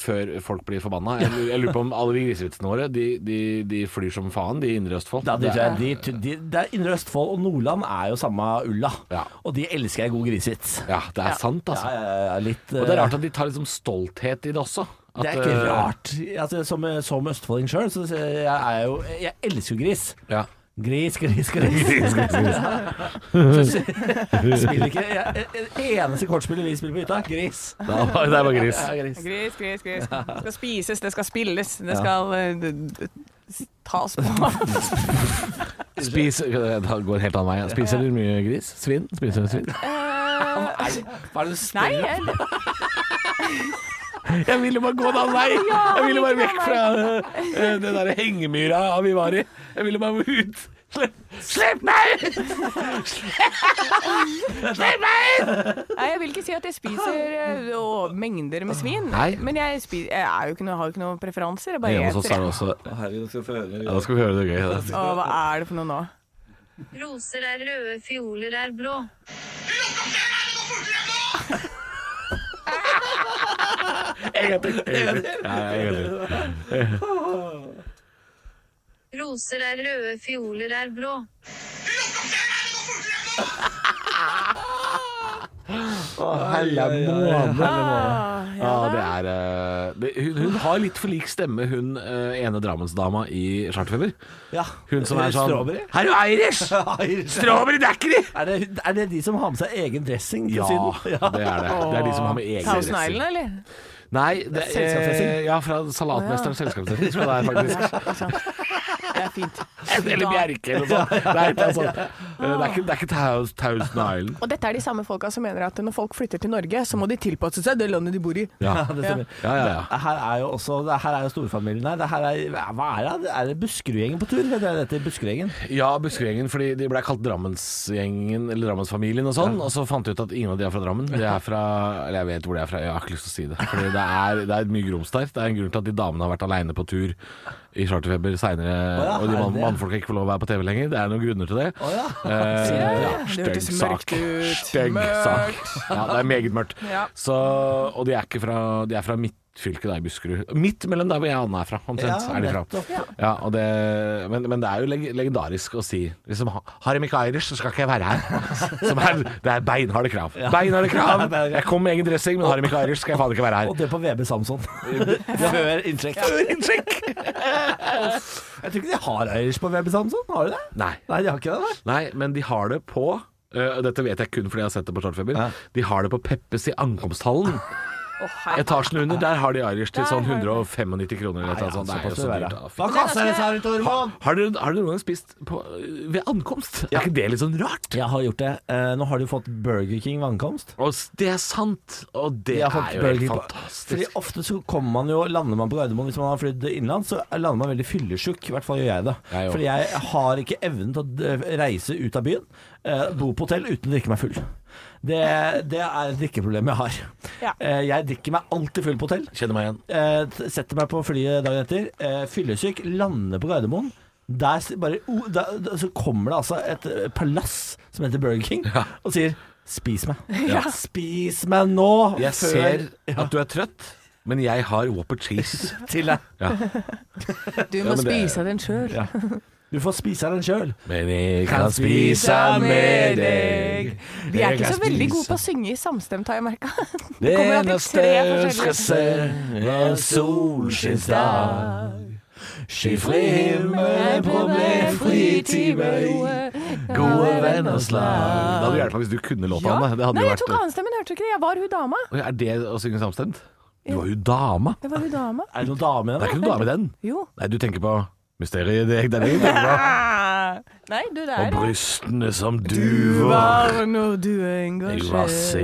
Speaker 2: før folk blir forbanna. Jeg lurer- jeg lurer på om alle de grisevitsene våre, de, de, de flyr som faen, de i Indre Østfold.
Speaker 1: Da, de,
Speaker 2: Det er-
Speaker 1: de, de, det er Indre Østfold og Nordland er jo samme ulla,
Speaker 2: Ja.
Speaker 1: og de elsker ei god grisevits.
Speaker 2: Ja, det er sant,
Speaker 1: Ja,
Speaker 2: altså.
Speaker 1: ja, ja, litt
Speaker 2: Og det er rart at de tar liksom stolthet i det også. At,
Speaker 1: Det er ikke
Speaker 2: eh,
Speaker 1: rart. Altså, som, som østfolding sjøl, så så jeg er jo Jeg elsker jo gris.
Speaker 2: Ja.
Speaker 1: Gris, gris, gris. Så- Spiller ikke jeg, jeg- Eneste kortspillet vi spiller på hytta, er gris.
Speaker 2: Det er bare- det er bare gris.
Speaker 1: Ja, gris.
Speaker 3: Gris, gris, gris. Det skal spises, det skal spilles, det skal eh, d- d- s- tas på.
Speaker 2: Spis Det går helt annen vei. Spiser du mye gris? Svin? Spiser du svin?
Speaker 3: Eh,
Speaker 1: Hva er det du
Speaker 3: nei,
Speaker 1: spiller?
Speaker 3: jeg-
Speaker 2: Jeg ville bare gå en annen vei! Jeg ville bare vekk fra eh, den derre hengemyra vi var i. Jeg ville bare ut. Slipp, slipp meg!
Speaker 3: Nei, jeg vil ikke si at jeg spiser eh, å, mengder med svin,
Speaker 2: Nei.
Speaker 3: men jeg, spi- jeg er jo ikke noe, har jo ikke noen preferanser. Jeg bare
Speaker 2: Hjemme hos oss er
Speaker 3: eter.
Speaker 2: det
Speaker 3: jeg.
Speaker 2: også
Speaker 1: Å, Herregud, nå skal vi få høre
Speaker 2: Ja, da skal vi høre det gøy.
Speaker 3: Å, hva er det for noe nå?
Speaker 4: Roser er røde, fioler er blå.
Speaker 2: En gang til. En gang til. Ja, en gang til.
Speaker 4: Roser er røde, fioler er blå.
Speaker 3: Ah,
Speaker 2: Ja,
Speaker 3: ja,
Speaker 2: det
Speaker 3: da.
Speaker 2: er eh, det, hun, hun har litt for lik stemme, hun eh, ene drammensdama i Charterfeber.
Speaker 1: Ja.
Speaker 2: Hun som er sånn
Speaker 1: Eh, Strawberry?
Speaker 2: Er du Irish? Strawberry daiquiri!
Speaker 1: Er det, er det de som har med seg egen dressing til
Speaker 2: Ja, det
Speaker 1: Syden?
Speaker 2: er det. Det er de som har med egen
Speaker 3: Thousand
Speaker 2: dressing.
Speaker 3: Island, eller?
Speaker 2: Nei, det,
Speaker 1: Selskapsdressing?
Speaker 2: eh, ja, fra Salatmesterens selskapsdressing. tror jeg det er faktisk.
Speaker 3: Det er fint.
Speaker 2: Eller Bjerke eller noe sånt. Nei, det er sånn. Eh, Det er ikke, det er ikke Taus- Thousand Island.
Speaker 3: Og dette er de samme folka som mener at når folk flytter til Norge, så må de tilpasse seg det landet de bor i.
Speaker 2: Ja.
Speaker 1: Ja, det stemmer.
Speaker 2: Ja, ja, ja.
Speaker 1: Det Her er jo også det her er jo storfamilien her. Det her er, hva er det? Er det Buskerudgjengen på tur? Eller er dette Buskerudgjengen?
Speaker 2: Ja, Buskerudgjengen, fordi de ble kalt Drammensgjengen, eller Drammensfamilien og sånn, og så fant de ut at ingen av de er fra Drammen. De er fra Eller jeg vet hvor de er fra, jeg har ikke lyst til å si det. Fordi det er, det er mye grums der. Det er en grunn til at de damene har vært aleine på tur i Charterfeber seinere,
Speaker 1: ja,
Speaker 2: og de
Speaker 1: er
Speaker 2: mann,
Speaker 1: det?
Speaker 2: mannfolka ikke får lov å være på TV lenger. Det er noen grunner til det.
Speaker 1: ja.
Speaker 2: Eh, ja,
Speaker 3: Det
Speaker 2: stygg
Speaker 3: hørtes
Speaker 2: sak.
Speaker 3: mørkt ut.
Speaker 2: Stygg sak.
Speaker 3: Mørkt.
Speaker 2: Ja, det er meget mørkt.
Speaker 3: Ja.
Speaker 2: Så, og de er ikke fra De er fra midtfylket der i Buskerud. Midt mellom der hvor jeg og Anna er fra, omtrent.
Speaker 1: Ja,
Speaker 2: er de fra.
Speaker 1: nettopp.
Speaker 2: Ja, og det, men, men det er jo leg legendarisk å si liksom, ha- Har jeg ikke Irish, så skal ikke jeg være her. Som er, det er beinharde krav. Beinharde krav! Jeg kom med egen dressing, men har jeg ikke Irish, skal jeg faen ikke være
Speaker 1: Og
Speaker 2: her.
Speaker 1: det på VB Samson. Før innsjekk. Jeg tror ikke de har Irish på VB Samson, har de det?
Speaker 2: Nei.
Speaker 1: Nei, de har ikke det. Nei.
Speaker 2: Nei, men de har det på øh, Dette vet jeg kun fordi jeg har sett det på Chartfeber.
Speaker 1: Ja.
Speaker 2: De har det på Peppes i ankomsthallen.
Speaker 3: Å, herre.
Speaker 2: Etasjen under, der har de Irish til
Speaker 3: Der
Speaker 2: sånn
Speaker 3: har de.
Speaker 2: 195 kroner eller noe sånt. Det er jo så dyrt. da.
Speaker 1: Hva kaster dere seg ut over mål?
Speaker 2: Har dere, har dere noen gang spist på, ved ankomst? Er ikke det litt sånn rart?
Speaker 1: Jeg har gjort det. Eh, nå har du fått Burger King vannkomst.
Speaker 2: Og s- det er sant, og det
Speaker 1: Jeg har
Speaker 2: er
Speaker 1: fått
Speaker 2: jo
Speaker 1: Burger
Speaker 2: helt
Speaker 1: King på- Fordi
Speaker 2: fantastisk.
Speaker 1: ofte så kommer man jo, lander man på Gardermoen Hvis man har flydd innenlands, så lander man veldig fyllesjuk I hvert fall gjør jeg det
Speaker 2: Jeg òg.
Speaker 1: Fordi jeg har ikke evnen til å eh, reise ut av byen eh, Bo på hotell uten å drikke meg full Det, det er et drikkeproblem jeg har
Speaker 3: Ja.
Speaker 1: Eh, Jeg drikker meg alltid full på hotell
Speaker 2: Kjenner meg igjen.
Speaker 1: eh, t- Setter meg på flyet dagen etter eh, Fyllesyk, lander på Gardermoen der, s- bare, oh, da, da, så kommer det altså et eh, palass som heter Burger King Og sier, spis meg Spis meg nå
Speaker 2: Jeg
Speaker 1: før-
Speaker 2: ser at du er trøtt, men jeg har Whopper cheese.
Speaker 1: til deg
Speaker 3: Du
Speaker 2: Ja,
Speaker 3: må
Speaker 2: men det er-
Speaker 3: spise den sjøl.
Speaker 1: Du får spise den sjøl.
Speaker 2: Men jeg
Speaker 1: kan spise med
Speaker 3: De er ikke så veldig gode på å synge i samstemt, har jeg merka.
Speaker 2: Det
Speaker 3: kommer alltid eneste tre jeg forskjellige. skal se,
Speaker 2: er en solskinnsdag. Skyfri himmel, problemfri timer, gode venners lag. Det hadde hjulpet hvis du kunne låta, Anne. Det hadde
Speaker 3: Nei,
Speaker 2: jo
Speaker 3: jeg tok
Speaker 2: vært
Speaker 3: annenstemmen, hørte du ikke det? Jeg var hun dama.
Speaker 2: Oi, Er det å synge samstemt? Du var jo dame.
Speaker 3: Det var hun dama.
Speaker 1: Er det noen dame i
Speaker 2: Det er
Speaker 1: den?
Speaker 2: ikke noen dame i den.
Speaker 3: Jo.
Speaker 2: Nei, du tenker på mysteriet i deg. Det er det du tenker på.
Speaker 3: Nei, du, det
Speaker 2: Og
Speaker 3: er
Speaker 2: brystene som
Speaker 3: Du
Speaker 2: duver.
Speaker 3: var når du er
Speaker 2: I glasset i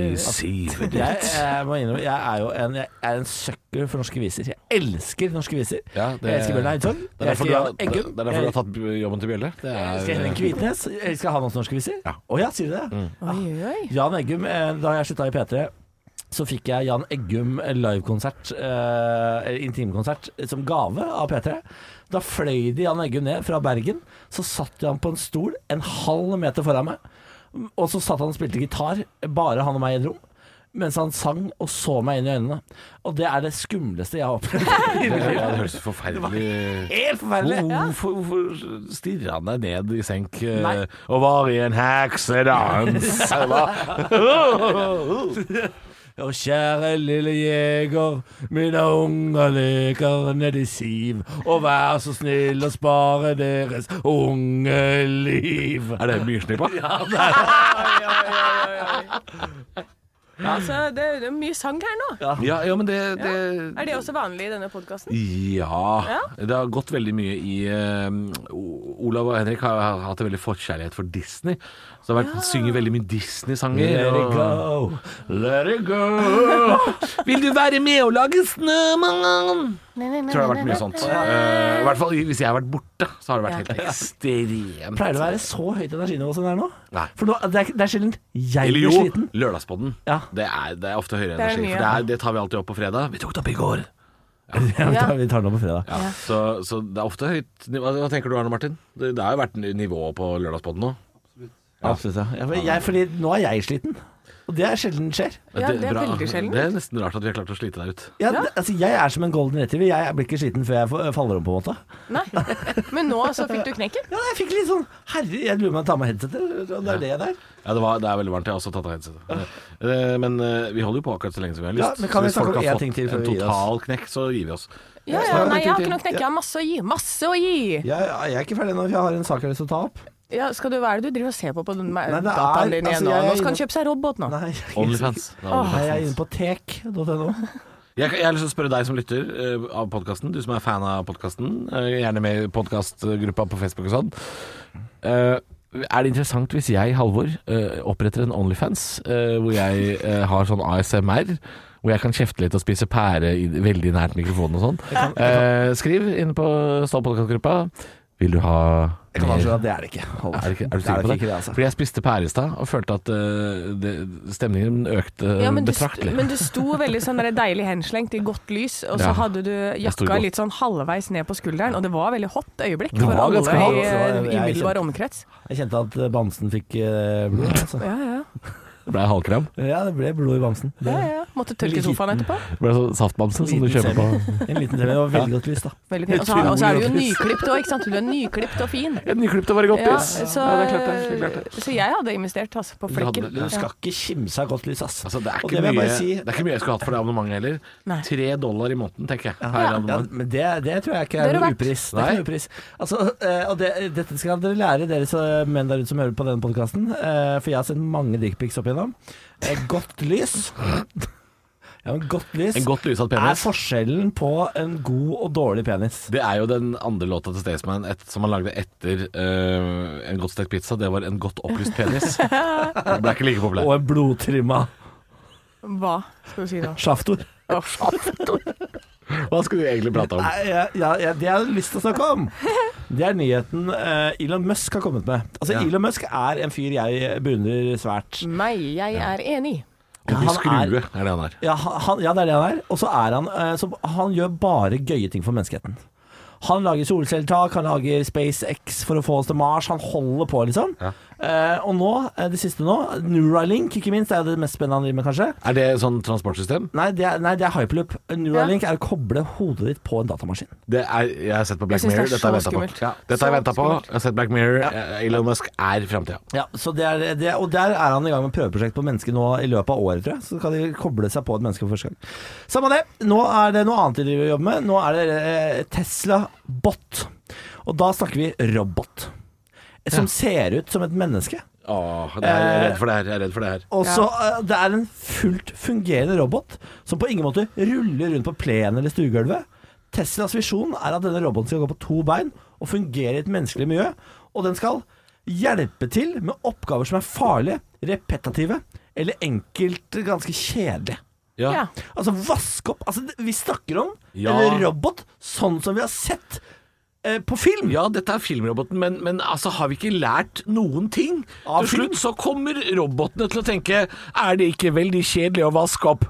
Speaker 3: engasjert.
Speaker 2: sivet
Speaker 1: Jeg,
Speaker 2: ditt.
Speaker 1: jeg eh, må innrømme, jeg er jo en, jeg er en søkker for norske viser. Jeg elsker norske viser.
Speaker 2: Ja, det-
Speaker 1: jeg elsker Bjørn Eidsvåg. Jeg
Speaker 2: Det er derfor
Speaker 1: elsker
Speaker 2: du har,
Speaker 1: Jan
Speaker 2: det
Speaker 1: Eggum.
Speaker 2: er derfor du har tatt jobben til Bjelle.
Speaker 1: Jeg
Speaker 2: Det er,
Speaker 1: elsker Henrik Kvitnes. Jeg elsker han også norske viser. Å
Speaker 2: Ja. Mm.
Speaker 1: ja. sier du det?
Speaker 3: Oi, oi, oi.
Speaker 1: Jan Eggum, eh, da jeg slutta i P3 så fikk jeg Jan Eggum livekonsert, eh, eller intimkonsert, som gave av P3. Da fløy de Jan Eggum ned fra Bergen. Så satt han på en stol en halv meter foran meg. Og så satt han og spilte gitar, bare han og meg i et rom. Mens han sang og så meg inn i øynene. Og det er det skumleste jeg har opplevd. i
Speaker 2: det,
Speaker 1: mitt liv.
Speaker 2: ja, det høres forferdelig
Speaker 1: Helt forferdelig.
Speaker 2: Hvorfor, hvorfor stirrer han deg ned i senk eh,
Speaker 1: Nei.
Speaker 2: og var i en heksedans? Det var-
Speaker 1: Og kjære lille jeger, mine unger leker nedi siv. Og vær så snill å spare deres unge liv.
Speaker 2: Er det myrsnippa? Ja.
Speaker 3: Altså, det er det er mye sang her nå.
Speaker 2: Ja, men det, det
Speaker 3: Er det også vanlig i denne podkasten?
Speaker 2: Ja.
Speaker 3: Ja.
Speaker 2: Det har gått veldig mye i eh, O- Olav og Henrik har, har hatt en veldig forkjærlighet for Disney. Så det har vært, synger veldig mye Disney-sanger.
Speaker 1: Let it
Speaker 2: og-
Speaker 1: go, let it go.
Speaker 2: Vil du være med og lage snømann? Tror det har vært mye sånt. Eh, I hvert fall hvis jeg har vært borte, så har det vært helt ekstremt.
Speaker 1: Pleier det å være så høyt energinivå som det er nå?
Speaker 2: Nei.
Speaker 1: For nå, det, er, det er sjelden jeg
Speaker 2: Eller
Speaker 1: blir
Speaker 2: jo,
Speaker 1: sliten.
Speaker 2: Lørdagspodden.
Speaker 1: Ja.
Speaker 2: Det, er, det er ofte høyere
Speaker 3: er
Speaker 2: energi.
Speaker 3: mye,
Speaker 2: For det, er, det tar vi alltid opp på fredag. Vi tok det opp i går.
Speaker 1: Ja, vi tar- vi tar den opp på fredag.
Speaker 2: Ja. Så, så det er ofte høyt nivå. Hva tenker du Arne Martin? Det, det har jo vært nivået på Lørdagspodden nå.
Speaker 1: Absolutt. Ja. Ja, men jeg, fordi nå er jeg sliten. Og det er sjelden det skjer.
Speaker 3: Ja, det er veldig sjelden.
Speaker 2: Det er nesten rart at vi har klart å slite deg ut.
Speaker 1: Jeg, altså, jeg er som en golden retriever. Jeg blir ikke sliten før jeg f- faller om, på en måte.
Speaker 3: Nei. Men nå så fikk du knekken.
Speaker 1: Ja, jeg fikk litt sånn Herre, jeg lurer på om jeg tar med headsetet, og det er det der.
Speaker 2: Ja, det, var, det er veldig varmt. Jeg har også tatt av headsetet. Eh, Men eh, vi holder jo på akkurat så lenge som vi har lyst.
Speaker 1: Ja, men kan vi
Speaker 2: så hvis
Speaker 1: snakke
Speaker 2: folk
Speaker 1: om
Speaker 2: har
Speaker 1: én ting til
Speaker 2: fått
Speaker 1: før
Speaker 2: en
Speaker 1: vi gir oss?
Speaker 2: total knekk, så gir vi oss.
Speaker 3: Ja, ja, nei, jeg har ikke noe knekk. Jeg har masse å gi. Masse å gi.
Speaker 1: Ja, ja, jeg er ikke ferdig ennå, for jeg har en sak jeg har lyst til å ta opp.
Speaker 3: Ja, skal du, hva er det du driver og ser på på den
Speaker 1: det er-
Speaker 3: dataen din igjen
Speaker 1: altså,
Speaker 3: nå?
Speaker 1: jeg er
Speaker 3: Nå skal han
Speaker 1: inne-
Speaker 3: kjøpe seg robot nå.
Speaker 1: Nei, jeg er ikke-
Speaker 2: Onlyfans. Det er
Speaker 1: Nei, jeg er
Speaker 2: Onlyfans.
Speaker 1: inne på tek.no.
Speaker 2: Jeg, jeg har lyst til å spørre deg som lytter eh, av podkasten, du som er fan av podkasten, eh, gjerne med i podkastgruppa på Facebook og sånn. Eh, er det interessant hvis jeg, Halvor, eh, oppretter en Onlyfans eh, hvor jeg eh, har sånn ASMR? Hvor jeg kan kjefte litt og spise pære i, veldig nært mikrofonen og sånn. Eh, skriv inn på Stål-podkastgruppa. Vil du ha
Speaker 1: Jeg kan
Speaker 2: mer-
Speaker 1: avsløre at det er det ikke. Halvor.
Speaker 2: er, det ikke, er du
Speaker 1: Det
Speaker 2: sikker på det?
Speaker 1: ikke altså.
Speaker 2: Fordi jeg spiste pære i stad og følte at eh, det, stemningen økte
Speaker 3: Ja, men, du sto,
Speaker 2: betraktelig.
Speaker 3: men du sto veldig sånn der deilig henslengt i godt lys, og så
Speaker 2: Ja.
Speaker 3: hadde du
Speaker 2: sto i
Speaker 3: jakka
Speaker 2: godt.
Speaker 3: litt sånn halvveis ned på skulderen, og det var veldig hot øyeblikk
Speaker 1: var
Speaker 3: for alle
Speaker 1: ganske hot.
Speaker 3: i
Speaker 1: Det
Speaker 3: eh,
Speaker 1: var- jeg
Speaker 3: umiddelbar
Speaker 1: kjente-
Speaker 3: omkrets.
Speaker 1: Jeg kjente at eh, bamsen fikk eh, blod. Altså.
Speaker 3: Ja, ja.
Speaker 2: Det ble halvkram.
Speaker 1: Ja, det ble blod i bamsen.
Speaker 3: ja, ja. Måtte tørke
Speaker 1: Liten-
Speaker 3: sofaen etterpå.
Speaker 2: Det ble sånn saftbamse som du
Speaker 1: Liten
Speaker 2: kjøper på
Speaker 1: En liten TV. Det var veldig godt lys, da.
Speaker 3: Veldig fint. Og så- Og så er du jo nyklipt òg, ikke sant. Du er nyklipt og fin.
Speaker 2: Et nyklipt og bare godt
Speaker 3: Ja,
Speaker 2: pris.
Speaker 3: så,
Speaker 2: Ja, det er klart det. Det er klart det.
Speaker 3: så jeg hadde investert altså, på
Speaker 2: Du
Speaker 3: flekken.
Speaker 2: hadde- du
Speaker 1: Du skal ikke kimse av godt lys, ass.
Speaker 2: Altså, det, er
Speaker 1: Og
Speaker 2: ikke
Speaker 1: det vil jeg
Speaker 2: mye,
Speaker 1: bare si-
Speaker 2: det er ikke mye jeg skulle hatt for det abonnementet heller.
Speaker 3: Nei.
Speaker 2: Tre dollar i måneden, tenker jeg. Per
Speaker 1: Ja,
Speaker 2: abonnement.
Speaker 1: men det, det tror jeg ikke
Speaker 3: Det
Speaker 1: er
Speaker 3: er
Speaker 1: noe
Speaker 3: det verdt.
Speaker 1: upris. Det er
Speaker 2: Nei.
Speaker 1: ikke noe upris. Altså, eh, og det, dette skal dere lære, dere som- menn der ute som hører på denne podkasten. For jeg har sett mange dickpics opp igjennom. Eh, Godt lys Ja, men godt lys
Speaker 2: En godt lyset
Speaker 1: er
Speaker 2: penis.
Speaker 1: forskjellen på en god og dårlig penis.
Speaker 2: Det er jo den andre låta til Staysman et, som han lagde etter eh, En godt stekt pizza. Det var En godt opplyst penis. Den ble ikke like populær.
Speaker 1: Og en blodtrimma
Speaker 3: Hva skal du si nå?
Speaker 1: sjaftor.
Speaker 2: Hva skulle du egentlig prate om?
Speaker 1: Nei, ja, ja, ja, det jeg har lyst til å snakke om, det er nyheten eh, Elon Musk har kommet med. Altså,
Speaker 2: Ja.
Speaker 1: Elon Musk er en fyr jeg beundrer svært.
Speaker 3: Meg, jeg er enig.
Speaker 2: En
Speaker 1: Han
Speaker 2: skrue er det han er.
Speaker 1: Ja, han, ja, det er det han er. Og så er han eh, så Han gjør bare gøye ting for menneskeheten. Han lager solcelletak, han lager SpaceX for å få oss til Mars. Han holder på, liksom.
Speaker 2: Ja.
Speaker 1: Eh, og nå, eh, det siste nå, Neuralink ikke minst, er jo det mest spennende han driver med, kanskje.
Speaker 2: Er det sånn transportsystem?
Speaker 1: Nei det, er, nei, det er hyperloop. Neuralink er å koble hodet ditt på en datamaskin.
Speaker 2: Det er, jeg har sett på Black
Speaker 3: Jeg synes det
Speaker 2: Mirror. Dette har jeg ventet på.
Speaker 3: er så skummelt.
Speaker 2: Ja. Dette har jeg
Speaker 3: Så
Speaker 2: ventet på.
Speaker 3: skummelt.
Speaker 2: Jeg har sett Black Mirror. Eh, Elon Musk er framtida.
Speaker 1: Ja, så det er, det, Og der er han i gang med prøveprosjekt på mennesker nå i løpet av året, tror jeg. Så kan de koble seg på et menneske for første gang. Samme det, nå er det noe annet de driver og jobber med. Nå er det eh, Tesla Bot. Og da snakker vi robot. Som ser ut som et menneske.
Speaker 2: Åh, det er, jeg er redd for det her. Jeg er redd for det her.
Speaker 1: Og så eh, Det er en fullt fungerende robot som på ingen måte ruller rundt på plenen eller stuegulvet. Teslas visjon er at denne roboten skal gå på to bein og fungere i et menneskelig miljø. Og den skal hjelpe til med oppgaver som er farlige, repetitive eller enkelt ganske kjedelige.
Speaker 2: Ja.
Speaker 3: Ja.
Speaker 1: Altså vaske opp Altså, vi snakker om
Speaker 2: Ja.
Speaker 1: en robot sånn som vi har sett eh, på film.
Speaker 2: Ja, dette er filmroboten, men, men altså, har vi ikke lært noen ting?
Speaker 1: Av
Speaker 2: Til slutt så kommer robotene til å tenke Er det ikke veldig kjedelig å vaske opp?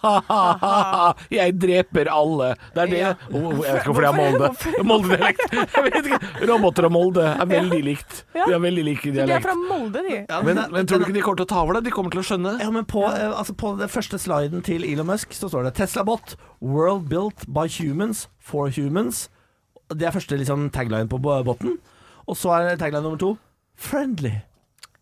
Speaker 2: Ha-ha-ha-ha-ha Jeg dreper alle. Det er det
Speaker 3: Ja.
Speaker 2: Åh, Jeg vet ikke hvorfor det er Molde.
Speaker 3: Hvorfor-
Speaker 2: Molde-dialekt. Jeg vet ikke. Roboter og Molde er veldig likt.
Speaker 3: Ja.
Speaker 2: De har veldig lik
Speaker 3: De er
Speaker 2: dialekt.
Speaker 3: fra Molde, de.
Speaker 1: Ja,
Speaker 2: Men,
Speaker 1: det-
Speaker 2: men tror du ikke de kommer til å ta over det? De kommer til å skjønne.
Speaker 1: Ja, men på, eh, altså på den første sliden til Elon Musk så står det Tesla-bot, world built by humans, for humans. Det er første liksom, tagline på bo- botten. Og så er tagline nummer to friendly.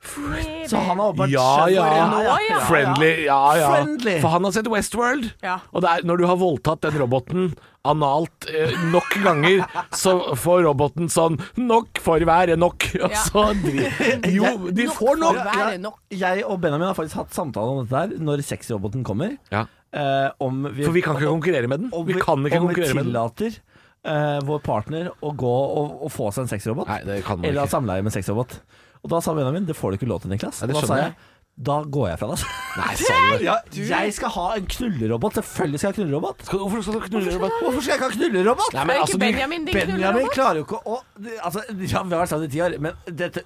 Speaker 1: Så han har åpenbart
Speaker 2: Ja,
Speaker 1: skjønt
Speaker 2: ja.
Speaker 1: hvor-
Speaker 3: Ja, ja.
Speaker 2: Friendly, ja ja.
Speaker 1: Friendly.
Speaker 2: For han har sett Westworld.
Speaker 3: Ja.
Speaker 2: Og det er, når du har voldtatt den roboten analt eh, nok ganger, så får roboten sånn Nok for være nok. Og
Speaker 3: Ja.
Speaker 2: så dri- Jo, de får nok.
Speaker 3: for
Speaker 1: Ja,
Speaker 3: være nok.
Speaker 1: Jeg og Benjamin har faktisk hatt samtale om dette her når sexroboten kommer.
Speaker 2: Ja.
Speaker 1: Eh, om vi,
Speaker 2: For vi kan ikke konkurrere med den.
Speaker 1: om
Speaker 2: Vi kan ikke
Speaker 1: om vi
Speaker 2: konkurrere med den.
Speaker 1: tillater eh, vår partner å gå og, og få seg en sexrobot.
Speaker 2: Nei, det kan man
Speaker 1: Eller ha
Speaker 2: ikke.
Speaker 1: samleie med en sexrobot. Og da sa Benjamin det får du ikke lov til, Niklas.
Speaker 2: Nei, det
Speaker 1: og da sa
Speaker 2: skjønner
Speaker 1: jeg da går jeg fra deg.
Speaker 2: Nei, sorry.
Speaker 1: Ja, jeg skal ha en knullerobot. Selvfølgelig skal jeg ha knullerobot.
Speaker 2: Skal, hvorfor skal du knulle
Speaker 1: Hvorfor
Speaker 2: roboten?
Speaker 1: skal jeg ikke ha knullerobot?
Speaker 2: Nei,
Speaker 3: Men
Speaker 2: men
Speaker 3: ikke
Speaker 2: altså, du
Speaker 3: Benjamin, din
Speaker 1: Benjamin
Speaker 3: knullerobot?
Speaker 1: klarer jo ikke å altså, ja, Vi har vært sammen i ti år, men dette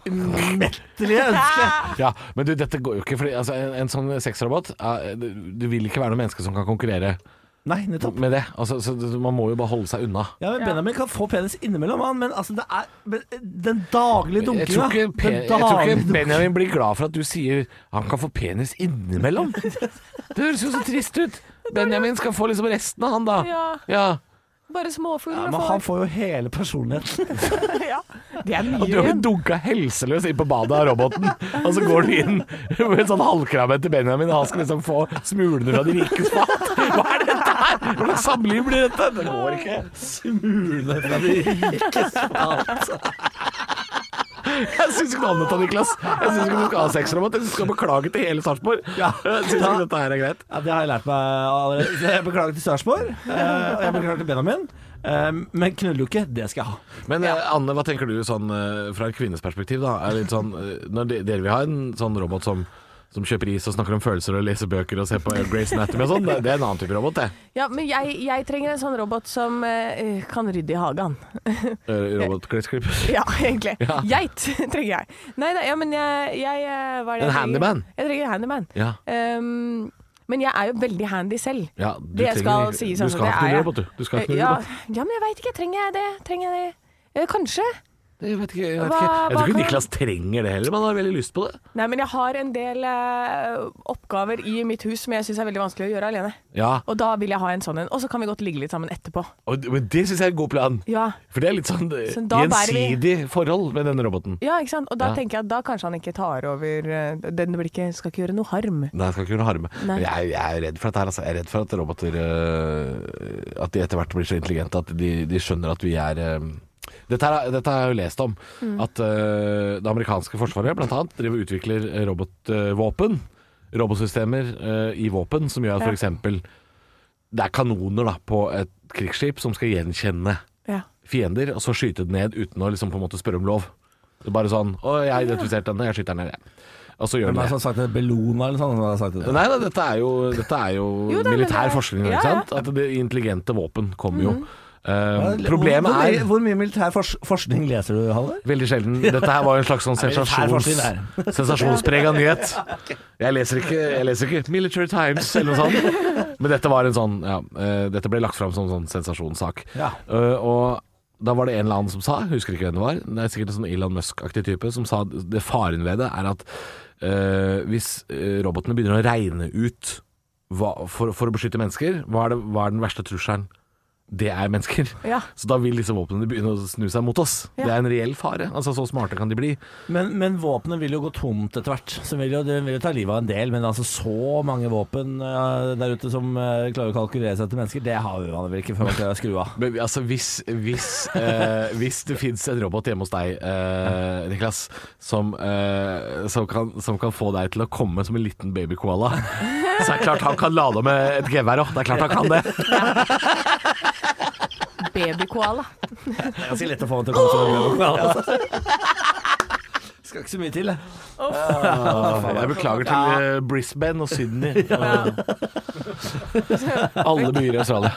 Speaker 1: umettelige ønsket
Speaker 2: ja, men du, dette går jo ikke, fordi altså, en, en sånn sexrobot eh, Du du vil ikke være noe menneske som kan konkurrere
Speaker 1: Nei, nettopp.
Speaker 2: med det. Altså, så du- man må jo bare holde seg unna.
Speaker 1: Ja, men Benjamin kan få penis innimellom, han, men altså, det er men, Den daglige
Speaker 2: Jeg
Speaker 1: dunkinga
Speaker 2: tror, ikke pe-
Speaker 1: den
Speaker 2: jeg tror
Speaker 1: daglige
Speaker 2: ikke
Speaker 1: dunkinga.
Speaker 2: Benjamin blir glad for at du sier han kan få penis innimellom. Det høres jo så trist ut. Benjamin skal få liksom resten av han, da.
Speaker 3: Ja,
Speaker 2: Ja.
Speaker 3: bare
Speaker 1: ja,
Speaker 3: småfugler
Speaker 1: men
Speaker 3: og
Speaker 1: han får jo hele personligheten.
Speaker 3: ja. Det er mye
Speaker 2: Du har jo
Speaker 3: igjen.
Speaker 2: dunka helseløs inn på badet av roboten, og så går du inn med en sånn halvkrabbe til Benjamin, og han skal liksom få smulene fra de rikes fat. Hva er dette her? Hva slags samliv blir dette? Det går ikke.
Speaker 1: Smulene fra de rikes fat.
Speaker 2: Jeg syns ikke noe om dette, Niklas. Jeg syns ikke du skal ha sexrobot. Jeg synes du skal beklage til hele Sarpsborg.
Speaker 1: Ja.
Speaker 2: Jeg syns ikke dette her er greit.
Speaker 1: Ja, det har jeg lært meg allerede. Så Jeg beklager til Sarpsborg, eh, og jeg beklager til Benjamin. Eh, Men knulluke, det skal jeg ha.
Speaker 2: Men eh, Anne, hva tenker du sånn eh, fra en kvinnes perspektiv, da? Er det litt sånn, eh, når de- dere vil ha en sånn robot som som kjøper is og snakker om følelser og leser bøker og ser på Grace Anatomy og sånn. Det det er en annen type robot, det.
Speaker 3: Ja, men jeg, jeg trenger en sånn robot som eh, kan rydde i hagen.
Speaker 2: Eh, Robot Grace Clip.
Speaker 3: Ja, egentlig. Geit trenger jeg. Nei, nei ja, men jeg, jeg eh, hva er det
Speaker 2: En
Speaker 3: jeg trenger?
Speaker 2: handyman.
Speaker 3: Jeg trenger en handyman.
Speaker 2: Ja.
Speaker 3: Ehm, men jeg er jo veldig handy selv.
Speaker 2: Ja, du
Speaker 3: det
Speaker 2: trenger-
Speaker 3: skal sies.
Speaker 2: du
Speaker 3: altså,
Speaker 2: skal ha ikke
Speaker 3: det er
Speaker 2: noen
Speaker 3: jeg.
Speaker 2: robot, du. Du skal ha ikke noen
Speaker 3: ja,
Speaker 2: robot.
Speaker 3: Ja, men jeg veit ikke. Trenger jeg det? Trenger jeg det? Eh, kanskje.
Speaker 2: Jeg vet ikke, jeg, vet
Speaker 3: Hva-
Speaker 2: ikke. jeg
Speaker 3: hva
Speaker 2: tror ikke
Speaker 3: kan-
Speaker 2: Niklas trenger det heller, men han har veldig lyst på det.
Speaker 3: Nei, men jeg har en del eh, oppgaver i mitt hus som jeg syns er veldig vanskelig å gjøre alene.
Speaker 2: Ja,
Speaker 3: Og da vil jeg ha en sånn en. Og så kan vi godt ligge litt sammen etterpå.
Speaker 2: og, Men det syns jeg er en god plan.
Speaker 3: Ja,
Speaker 2: For det er litt sånn eh,
Speaker 3: Så da bærer vi-
Speaker 2: gjensidig forhold med denne roboten.
Speaker 3: ja ikke sant? Og da
Speaker 2: Ja.
Speaker 3: tenker jeg at da kanskje han ikke tar over eh, Den blir ikke, skal ikke gjøre noe harm.
Speaker 2: Nei, jeg skal ikke kunne harme.
Speaker 3: Nei.
Speaker 2: Men jeg, jeg er redd for dette her. Altså. Jeg er redd for at roboter øh, At de etter hvert blir så intelligente at de, de skjønner at vi er øh, dette, her, er- dette har jeg jo lest om.
Speaker 3: Mm.
Speaker 2: At øh, det amerikanske forsvaret blant annet driver og utvikler eh, robotvåpen. Robotsystemer øh, i våpen som gjør at
Speaker 3: Ja.
Speaker 2: f.eks. det er kanoner da, på et krigsskip som skal gjenkjenne
Speaker 3: Ja.
Speaker 2: fiender, og så skyte det ned uten å liksom, på en måte spørre om lov. Det er bare sånn 'Å, jeg har identifisert denne, jeg skyter den ned', jeg. Og så gjør
Speaker 1: Hvem
Speaker 2: den
Speaker 1: er det
Speaker 2: det.
Speaker 1: som har sagt det? Bellona eller sånn? som har sagt det?
Speaker 2: Nei, nei, dette er jo, dette er jo,
Speaker 3: Jo da, men
Speaker 2: militær
Speaker 3: det er-
Speaker 2: forskning,
Speaker 3: ja,
Speaker 2: ikke
Speaker 3: ja. Mhm.
Speaker 2: sant? At det intelligente våpen kommer jo. Eh,
Speaker 1: Hvor-
Speaker 2: problemet
Speaker 1: hvor, mye-
Speaker 2: er
Speaker 1: Hvor mye militær fors forskning leser du, Haller?
Speaker 2: Veldig sjelden. Dette her var jo en slags sånn
Speaker 1: militær
Speaker 2: sensasjons,
Speaker 1: forskning,
Speaker 2: sensasjonsprega nyhet. Jeg leser, ikke, jeg leser ikke Military Times eller noe sånt. Men dette var en sånn ja, eh, Dette ble lagt fram som en sånn sensasjonssak.
Speaker 1: Ja.
Speaker 2: Eh, og da var det en eller annen som sa, jeg husker ikke hvem det var, det er sikkert en sånn Elon Musk-aktig type, som sa det faren ved det er at eh, hvis eh, robotene begynner å regne ut hva, for, for å beskytte mennesker, hva er, det, hva er den verste trusselen? Det er mennesker.
Speaker 3: Ja.
Speaker 2: Så da vil disse våpnene begynne å snu seg mot oss.
Speaker 3: Ja.
Speaker 2: Det er en reell fare. Altså, så smarte kan de bli.
Speaker 1: Men, men våpenet vil jo gå tomt etter hvert. Så vil jo, det vil jo ta livet av en del. Men altså så mange våpen eh, der ute som eh, klarer å kalkulere seg til mennesker, det har jo man vel ikke før man klarer å skru av.
Speaker 2: Men altså, hvis, hvis, eh, hvis det fins en robot hjemme hos deg, eh, Niklas, som, eh, som, kan, som kan få deg til å komme som en liten babykoala, så er det klart han kan lade med et gevær òg. Det er klart han kan det.
Speaker 3: Babykoala.
Speaker 1: Det er ganske lett å få den til å komme til å bli vokal. Altså. Skal ikke så mye til, jeg.
Speaker 2: Jeg beklager til eh, Brisbane og Sydney. Og alle byer i Australia.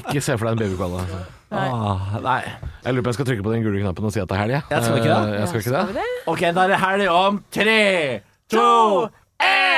Speaker 2: Ikke se for deg en babykoala. Altså.
Speaker 3: Nei.
Speaker 1: Ah, nei.
Speaker 2: Jeg lurer på om jeg skal trykke på den gule knappen og si at det er helg.
Speaker 1: Jeg skal ikke det.
Speaker 2: Eh, Jeg skal ikke det.
Speaker 3: vi det?
Speaker 1: Ok, da er det helg om tre, to,
Speaker 3: én!